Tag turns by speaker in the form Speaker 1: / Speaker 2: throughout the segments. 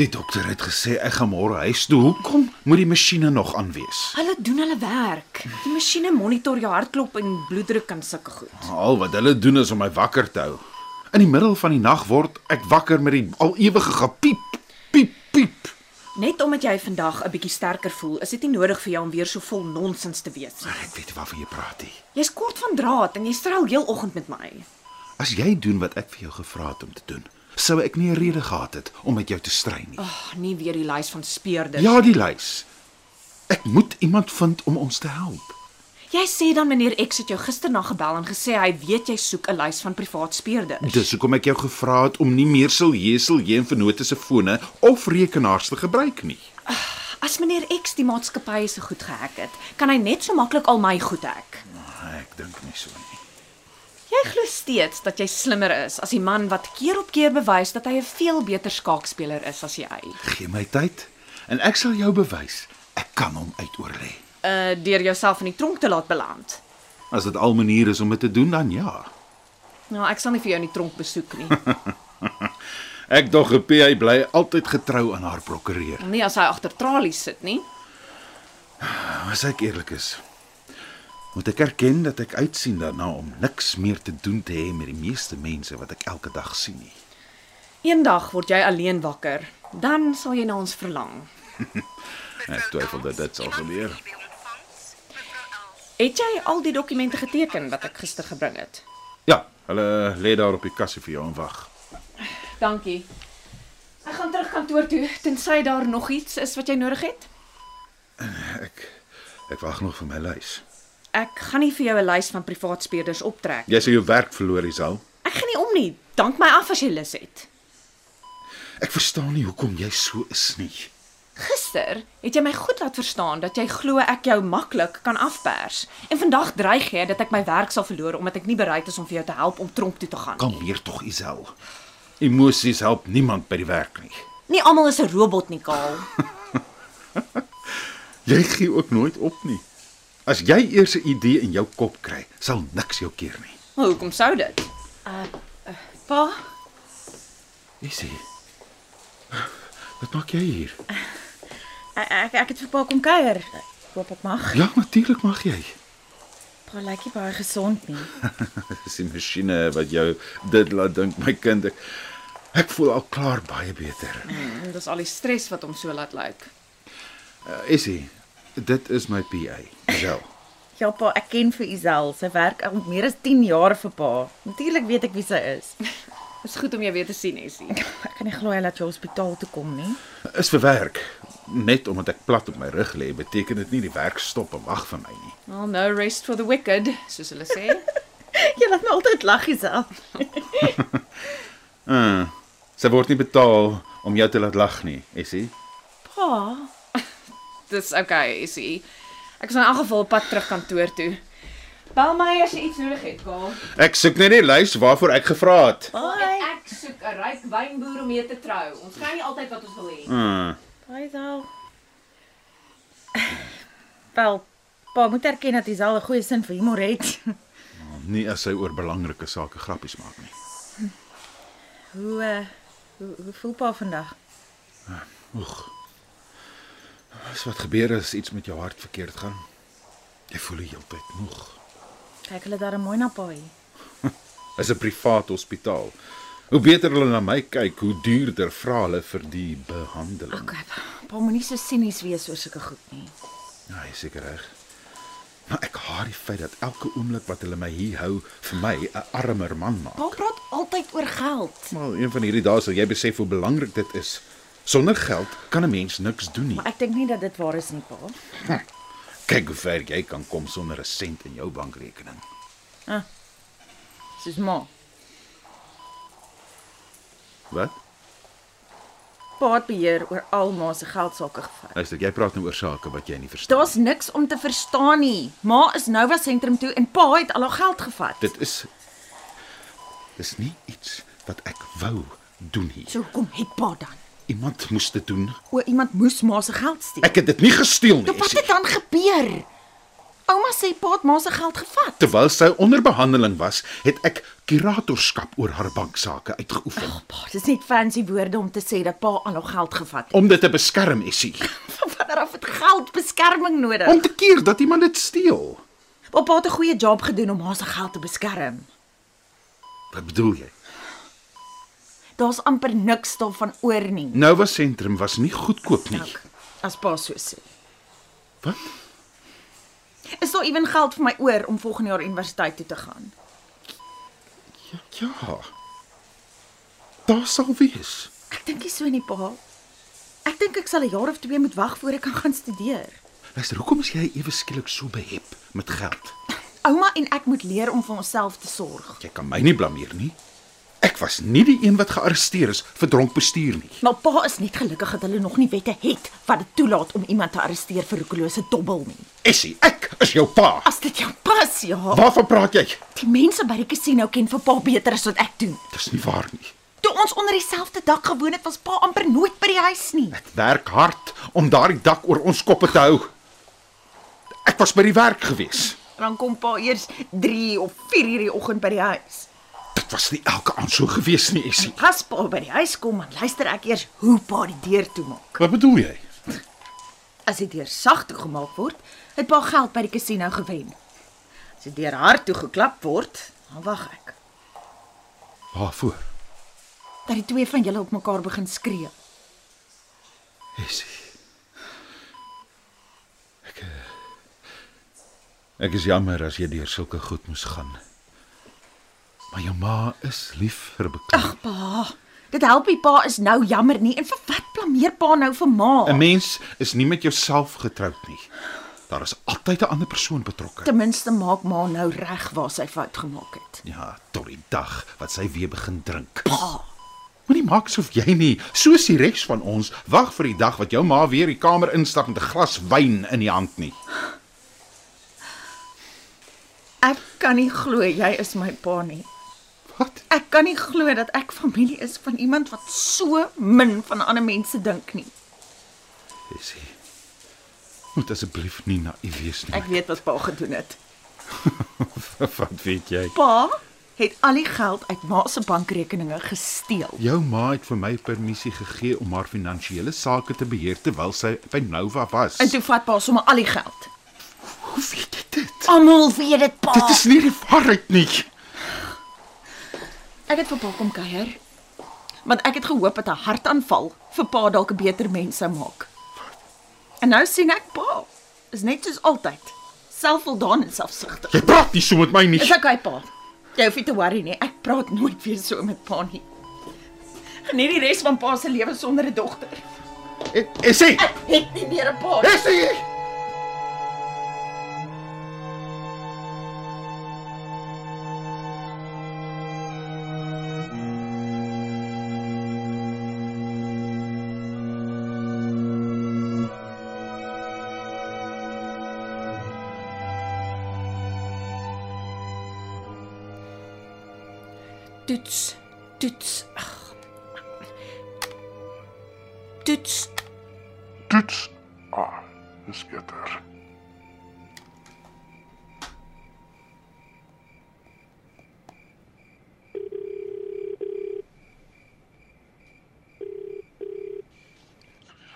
Speaker 1: Die dokter het gesê ek gaan môre huis toe. Hoekom moet die masjiene nog aan wees?
Speaker 2: Hulle doen hulle werk. Die masjiene monitor jou hartklop en bloeddruk en sulke goed.
Speaker 1: Al wat hulle doen is om my wakker te hou. In die middel van die nag word ek wakker met die al ewige gepiep, piep, piep.
Speaker 2: Net omdat jy vandag 'n bietjie sterker voel, is dit nie nodig vir jou om weer so vol nonsens te wees nie.
Speaker 1: Ek weet waarvan jy praat nie.
Speaker 2: Jy's kort van draad en jy strel heeloggend met my.
Speaker 1: As jy doen wat ek vir jou gevra het om te doen, sou ek nie 'n rede gehad het om met jou te stry nie.
Speaker 2: Ag, Ah, nie weer die lys van speurders.
Speaker 1: Ja, die lys. Ek moet iemand vind om ons te help.
Speaker 2: Jy sê dan meneer X het jou gisternag gebel en gesê hy weet jy soek 'n lys van privaat speurders.
Speaker 1: Dis hoekom ek jou gevra het om nie meer sal jesel heen vennote se fone of rekenaars te gebruik nie.
Speaker 2: As meneer X die maatskappy se goed gehack het, kan hy net so maklik al my goed hack.
Speaker 1: Ah, Ek dink nie so nie.
Speaker 2: Jy glo steeds dat jy slimmer is as die man wat keer op keer bewys dat hy 'n veel beter skaakspeler is as jy.
Speaker 1: Gee my tyd en ek sal jou bewys ek kan hom uitoorlê.
Speaker 2: Uh deur jouself in die tronk te laat beland.
Speaker 1: As dit al maniere is om dit te doen dan ja.
Speaker 2: Nou, ek sal nie vir jou in die tronk besoek nie.
Speaker 1: Ek dog gepie hy bly altyd getrou aan haar prokureur.
Speaker 2: nie as hy agter tralies sit nie.
Speaker 1: Nou, As ek eerlik is, moet ek erken dat ek uitsien daarna om niks meer te doen te hê met die meeste mense wat ek elke dag sien nie.
Speaker 2: Eendag word jy alleen wakker, dan sal jy na ons verlang.
Speaker 1: Ek twyfel dat dit sal gebeur.
Speaker 2: Het jy al die dokumente geteken wat ek gister gebring het?
Speaker 1: Ja, hulle lê daar op die kassie vir jou en wag.
Speaker 2: Dankie. Ek gaan terug kantoor toe tensy daar nog iets is wat jy nodig het.
Speaker 1: Ek ek wag nog vir my lys.
Speaker 2: Ek gaan nie vir jou 'n lys van privaat speerders optrek.
Speaker 1: Jy sê jou werk verloor is al.
Speaker 2: Ek gaan nie om nie. Dank my af as jy lus het.
Speaker 1: Ek verstaan nie hoekom jy so is nie.
Speaker 2: Gister het jy my goed laat verstaan dat jy glo ek jou maklik kan afpers. En vandag dreig jy dat ek my werk sal verloor omdat ek nie bereid is om vir jou te help om tronk toe te gaan nie.
Speaker 1: Kalmeer tog Isel. Emosies help niemand by die werk nie.
Speaker 2: Nie almal is 'n robot nie, Kaal.
Speaker 1: Jy gee ook nooit op nie. As jy eers 'n idee in jou kop kry, sal niks jou keer nie.
Speaker 2: Maar hoekom sou dit? Uh, uh pa,
Speaker 1: Jy sê. Wat maak jy hier?
Speaker 2: ek ek het vir pa kom kuier. Hoop ek mag.
Speaker 1: Ja, natuurlik mag jy.
Speaker 2: Pa lyk nie baie gesond nie.
Speaker 1: Dis die masjiene wat jou dit laat dink, my kind. Ek, ek voel al klaar baie beter.
Speaker 2: Mm, dis al die stres wat hom so laat lyk.
Speaker 1: Uh, Essie, dit is my PA, Isel.
Speaker 3: Ja pa, ek ken vir Isel. Sy werk al meer as 10 jaar vir pa. Natuurlik weet ek wie sy is.
Speaker 2: Dis goed om jou weer te sien, Essie.
Speaker 3: Ek kan nie glo hy laat jou hospitaal toe kom nie.
Speaker 1: Is vir werk. Net omdat ek plat op my rug lê, beteken dit nie die werk stop en wag vir my nie.
Speaker 2: Well, no rest for the wicked, soos hulle sê.
Speaker 3: Jy laat my altyd lag Isel.
Speaker 1: Uh, sy word nie betaal om jou te laat lag nie, Essie.
Speaker 3: Pa,
Speaker 2: Dis okay, Essie. Ek is in elk geval op pad terug kantoor toe. Bel my as jy iets nodig het, Kaal.
Speaker 1: Ek soek net die lys waarvoor ek gevra het.
Speaker 3: bye.
Speaker 2: Ek soek 'n ryk wynboer om mee te trou. Ons kry nie altyd wat ons wil hê.
Speaker 1: Uh,
Speaker 3: Bye Isel. Wel, pa moet erken dat Isel 'n goeie sin vir humor het.
Speaker 1: nie as sy oor belangrike sake grappies maak nie.
Speaker 3: Hoe uh, hoe, hoe voel pa vandag?
Speaker 1: Oeg. Dis wat gebeur as iets met jou hart verkeerd gaan. Jy voel die hele tyd moeg.
Speaker 3: Kyk hulle daar mooi na pa hier.
Speaker 1: Is 'n privaat hospitaal. Hoe beter hulle na my kyk, hoe duurder vra hulle vir die behandeling.
Speaker 3: Okay, pa, pa moenie so sinies wees oor sulke goed nie.
Speaker 1: Ja, jy is seker reg. Maar ek haat die feit dat elke oomblik wat hulle my hier hou vir my 'n armer man maak.
Speaker 3: Pa praat altyd oor geld.
Speaker 1: Maar een van hierdie dae sal jy besef hoe belangrik dit is. Sonder geld kan 'n mens niks doen nie. Hm.
Speaker 3: Maar ek dink nie dat dit waar is nie, pa.
Speaker 1: Kyk hoe ver jy kan kom sonder 'n sent in jou bankrekening.
Speaker 3: Soos ma.
Speaker 1: Wat?
Speaker 3: pa het beheer oor al ma se geld sake gevat.
Speaker 1: Luister, jy praat nou oor sake wat jy nie verstaan.
Speaker 3: Daar's niks om te verstaan nie. Ma is Nova sentrum toe en pa het al haar geld gevat.
Speaker 1: Dit is dis nie iets wat ek wou doen nie.
Speaker 3: So hoekom het pa dan?
Speaker 1: Iemand moes dit doen.
Speaker 3: O, iemand moes ma se geld steel.
Speaker 1: Ek het dit nie gesteel nie.
Speaker 3: Toe wat
Speaker 1: Essie.
Speaker 3: het dan gebeur? Ouma sê pa het ma se geld gevat.
Speaker 1: Terwyl sy onder behandeling was, het ek kuratorskap oor haar banksaake uitgeoefen
Speaker 3: Pa, dis net fancy woorde om te sê dat pa al haar geld gevat het.
Speaker 1: om dit te beskerm, Essie,
Speaker 3: Wanneer af het geld beskerming nodig?
Speaker 1: om te keer dat iemand dit steel.
Speaker 3: Oupa het 'n goeie job gedoen om haar se geld te beskerm.
Speaker 1: Wat bedoel jy?
Speaker 3: Daar's amper niks daarvan oor nie.
Speaker 1: Nova sentrum was nie goedkoop nie.
Speaker 3: Ek, as pa so sê.
Speaker 1: Wat?
Speaker 3: Is daar ewen geld vir my oor om volgende jaar universiteit toe te gaan?
Speaker 1: Ja. Daar sal wees.
Speaker 3: Ek dink nie so nie, pa. Ek dink ek sal 'n jaar of 2 moet wag voor ek kan gaan studeer.
Speaker 1: Luister, hoekom is jy ewe skielik so behep met geld?
Speaker 3: Ouma en ek moet leer om vir onsself te sorg.
Speaker 1: Jy kan my nie blameer nie. Ek was nie die een wat gearresteer is vir dronk bestuur nie.
Speaker 3: Maar Nou, pa is net gelukkig dat hulle nog nie wette het wat dit toelaat om iemand te arresteer vir roekelose dobbel nie.
Speaker 1: Essie, ek is jou pa.
Speaker 3: As dit jou pas, ja.
Speaker 1: Waarvan praat jy?
Speaker 3: Die mense by die casino ken vir pa beter as wat ek doen.
Speaker 1: Dis nie waar nie.
Speaker 3: Toe ons onder dieselfde dak gewoon het, was pa amper nooit by die huis nie.
Speaker 1: Ek werk hard om daardie dak oor ons koppe te hou. Ek was by die werk gewees.
Speaker 3: Dan kom pa eers 3 of 4 uur die oggend by die huis.
Speaker 1: Dit was nie elke aand so gewees nie, Essie.
Speaker 3: As pa by die huis kom, dan luister ek eers hoe pa die deur toemaak.
Speaker 1: Wat bedoel jy?
Speaker 3: As die deur sag toegemaak word, het pa geld by die casino gewen. As die deur hard toegeklap word, dan wag ek
Speaker 1: Waarvoor?
Speaker 3: dat die twee van julle op mekaar begin skree.
Speaker 1: Essie. Ek eh, Ek is jammer as jy deur sulke goed moes gaan. Maar jou ma is lief vir beklei.
Speaker 3: Ag pa, dit help nie pa is nou jammer nie en vir wat blameer pa nou vir ma?
Speaker 1: 'n Mens is nie met jouself getroud nie. Daar is altyd 'n ander persoon betrokke.
Speaker 3: Ten minste maak ma nou reg waar sy fout gemaak het.
Speaker 1: Ja, tot die dag wat sy weer begin drink.
Speaker 3: Pa,
Speaker 1: Moenie maak asof jy nie, soos die res van ons, wag vir die dag wat jou ma weer die kamer instap met 'n glas wyn in die hand nie.
Speaker 3: ek kan nie glo jy is my pa nie.
Speaker 1: Wat?
Speaker 3: Ek kan nie glo dat ek familie is van iemand wat so min van ander mense dink nie.
Speaker 1: Essie. Moet asseblief nie naïef wees nie.
Speaker 3: Ek weet wat pa gedoen het.
Speaker 1: Wat weet jy?
Speaker 3: Pa het al die geld uit ma se bankrekeninge gesteel.
Speaker 1: Jou ma het vir my permissie gegee om haar finansiële sake te beheer terwyl sy by Nova was.
Speaker 3: En toe vat pa sommer al die geld.
Speaker 1: hoe weet jy dit?
Speaker 3: Almal weet dit, pa.
Speaker 1: Dit is nie die waarheid nie.
Speaker 3: Ek het vir pa kom kuier. Want ek het gehoop dat 'n hartaanval vir pa dalk 'n beter mens sou maak. En nou sien ek pa is net soos altyd, selfvoldaan en selfsugtig.
Speaker 1: Jy praat nie so met my nie.
Speaker 3: Is okay pa. Jy hoef nie te worry nie. Ek praat nooit weer so met pa nie. Geniet die res van pa se lewe sonder 'n dogter.
Speaker 1: Essie.
Speaker 3: Ek het nie meer 'n pa. nie.
Speaker 1: Essie.
Speaker 2: Toets, toets. Ag. Toets.
Speaker 4: Toets. Ah, dis beter.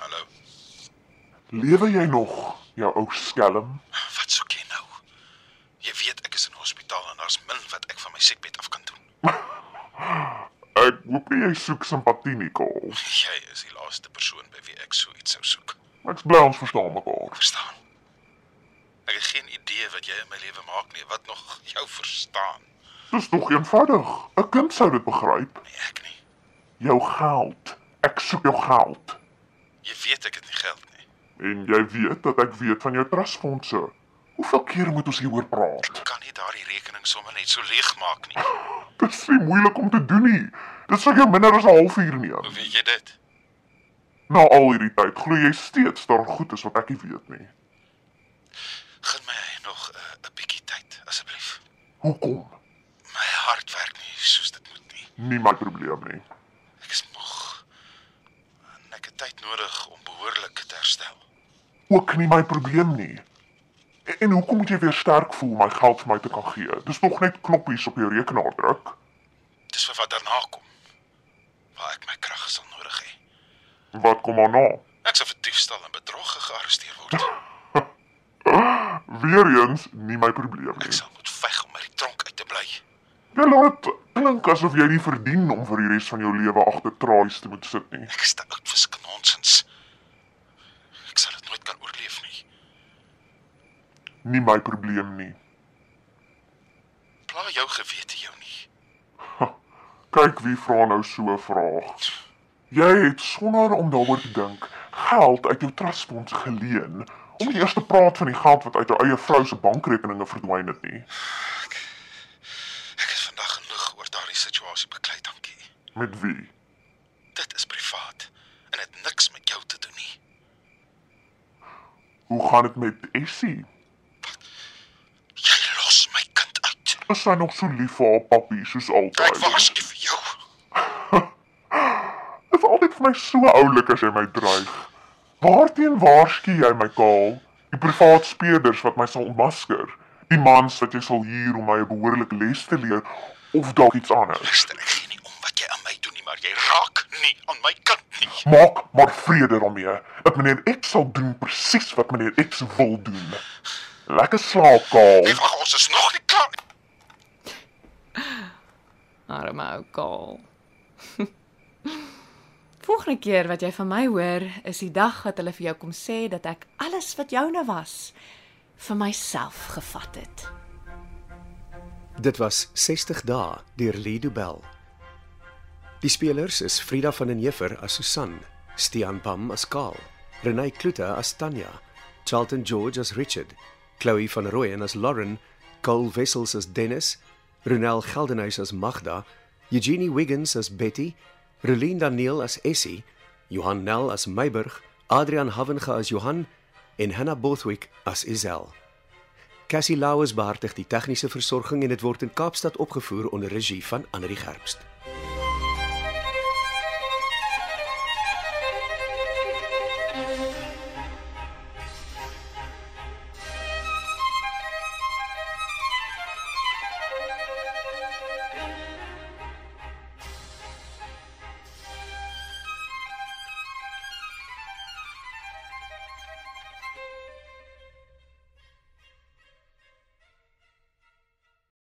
Speaker 1: Hallo.
Speaker 4: Lewe jy nog, jou ou skelm?
Speaker 1: Wat soek jy nou? Jy weet ek is in hospitaal en daar's min wat ek van my siekbed af kan doen.
Speaker 4: Ek hoop nie jy soek simpatie nie, Kaal.
Speaker 1: Jy is die laaste persoon by wie ek so iets sou soek.
Speaker 4: Ek's bly ons verstaan mekaar.
Speaker 1: Verstaan? Ek het geen idee wat jy in my lewe maak nie. Wat nog jou verstaan?
Speaker 4: Dis nog eenvoudig. 'n Kind sou dit begryp.
Speaker 1: Nee, ek nie.
Speaker 4: Jou geld. Ek soek jou geld.
Speaker 1: Jy weet ek het nie geld nie.
Speaker 4: En jy weet dat ek weet van jou trustfondse. Hoeveel keer moet ons hieroor praat?
Speaker 1: Kan nie daardie rekening sommer net so leeg maak nie.
Speaker 4: Dis nie moeilik om te doen nie. Dit sou jou minder as 'n halfuur neem.
Speaker 1: Hoe weet jy dit?
Speaker 4: Na al hierdie tyd glo jy steeds daar goed is wat ek nie weet nie.
Speaker 1: Gaan my nog 'n uh, bietjie tyd asseblief.
Speaker 4: Hoekom?
Speaker 1: My hart werk nie soos dit moet nie.
Speaker 4: Nie my probleem nie.
Speaker 1: Ek is moeg. En ek het tyd nodig om behoorlik te herstel.
Speaker 4: Ook nie my probleem nie. En, en hoekom moet jy weer sterk voel om my geld vir my te kan gee? Dis nog net knoppies op jou rekenaar druk.
Speaker 1: Dis vir wat daarna kom. Waar ek my krag sal nodig hê.
Speaker 4: Wat kom aan na?
Speaker 1: Ek sal vir diefstal en bedrog gearresteer word.
Speaker 4: Weereens nie my probleem
Speaker 1: Ek
Speaker 4: nie.
Speaker 1: sal moet veg om uit die tronk uit te bly.
Speaker 4: Jy laat klink asof jy nie verdien om vir die res van jou lewe agter tralies te moet sit nie.
Speaker 1: Ek is te oud vir sulke nonsens. Ek sal dit nooit kan oorleef nie.
Speaker 4: Nie my probleem nie.
Speaker 1: Pla jou gewete jou nie.
Speaker 4: Kyk wie vra nou so 'n vraag. Jy het sonder om daaroor te dink geld uit jou trustfonds geleen om nie eers te praat van die geld wat uit jou eie vrou se bankrekeninge verdwyn het nie.
Speaker 1: Ek het vandag genoeg oor daardie situasie beklei, dankie.
Speaker 4: Met wie?
Speaker 1: Dit is privaat en het niks met jou te doen nie.
Speaker 4: Hoe gaan dit met Essie?
Speaker 1: Jy los my kind uit.
Speaker 4: Is sy nog so lief vir haar pappie soos
Speaker 1: Ek
Speaker 4: altyd?
Speaker 1: waarsku vir jou.
Speaker 4: Dit is altyd vir my so oulik as jy my dreig. Waarteen waarsku jy my kaal? Die privaat speerders wat my sal ontmasker, die mans wat jy sal huur om my 'n behoorlike les te leer of dalk iets anders.
Speaker 1: Luister, ek gee nie om wat jy aan my doen nie, maar jy raak nie aan my kind nie.
Speaker 4: Maak maar vrede daarmee dat meneer X sal doen presies wat meneer X wil doen. Lekker slaap, kaal.
Speaker 1: Jy wag, ons is nog nie klaar nie.
Speaker 2: Arme ou Kaal. Volgende keer wat jy van my hoor, is die dag wat hulle vir jou kom sê dat ek alles wat joune was vir myself gevat het.
Speaker 5: Dit was 60 dae deur Lido Bell. Die spelers is Frida van den Heever as Susan, Stian Pam as Karl, Renai Klute as Tanya, Charlton George as Richard, Chloe van Rooyen as Lauren, Cole Wessels as Dennis, Ronel Geldenhuys as Magda, Eugenie Wiggins as Betty, Relien Daniel as Essie, Johan Nel as Meiburg, Adrian Havenga as Johan en Hannah Bothwick as Isel. Cassie Lauers behartig die tegniese versorging en dit word in Kaapstad opgevoer onder regie van Anri Gerbst.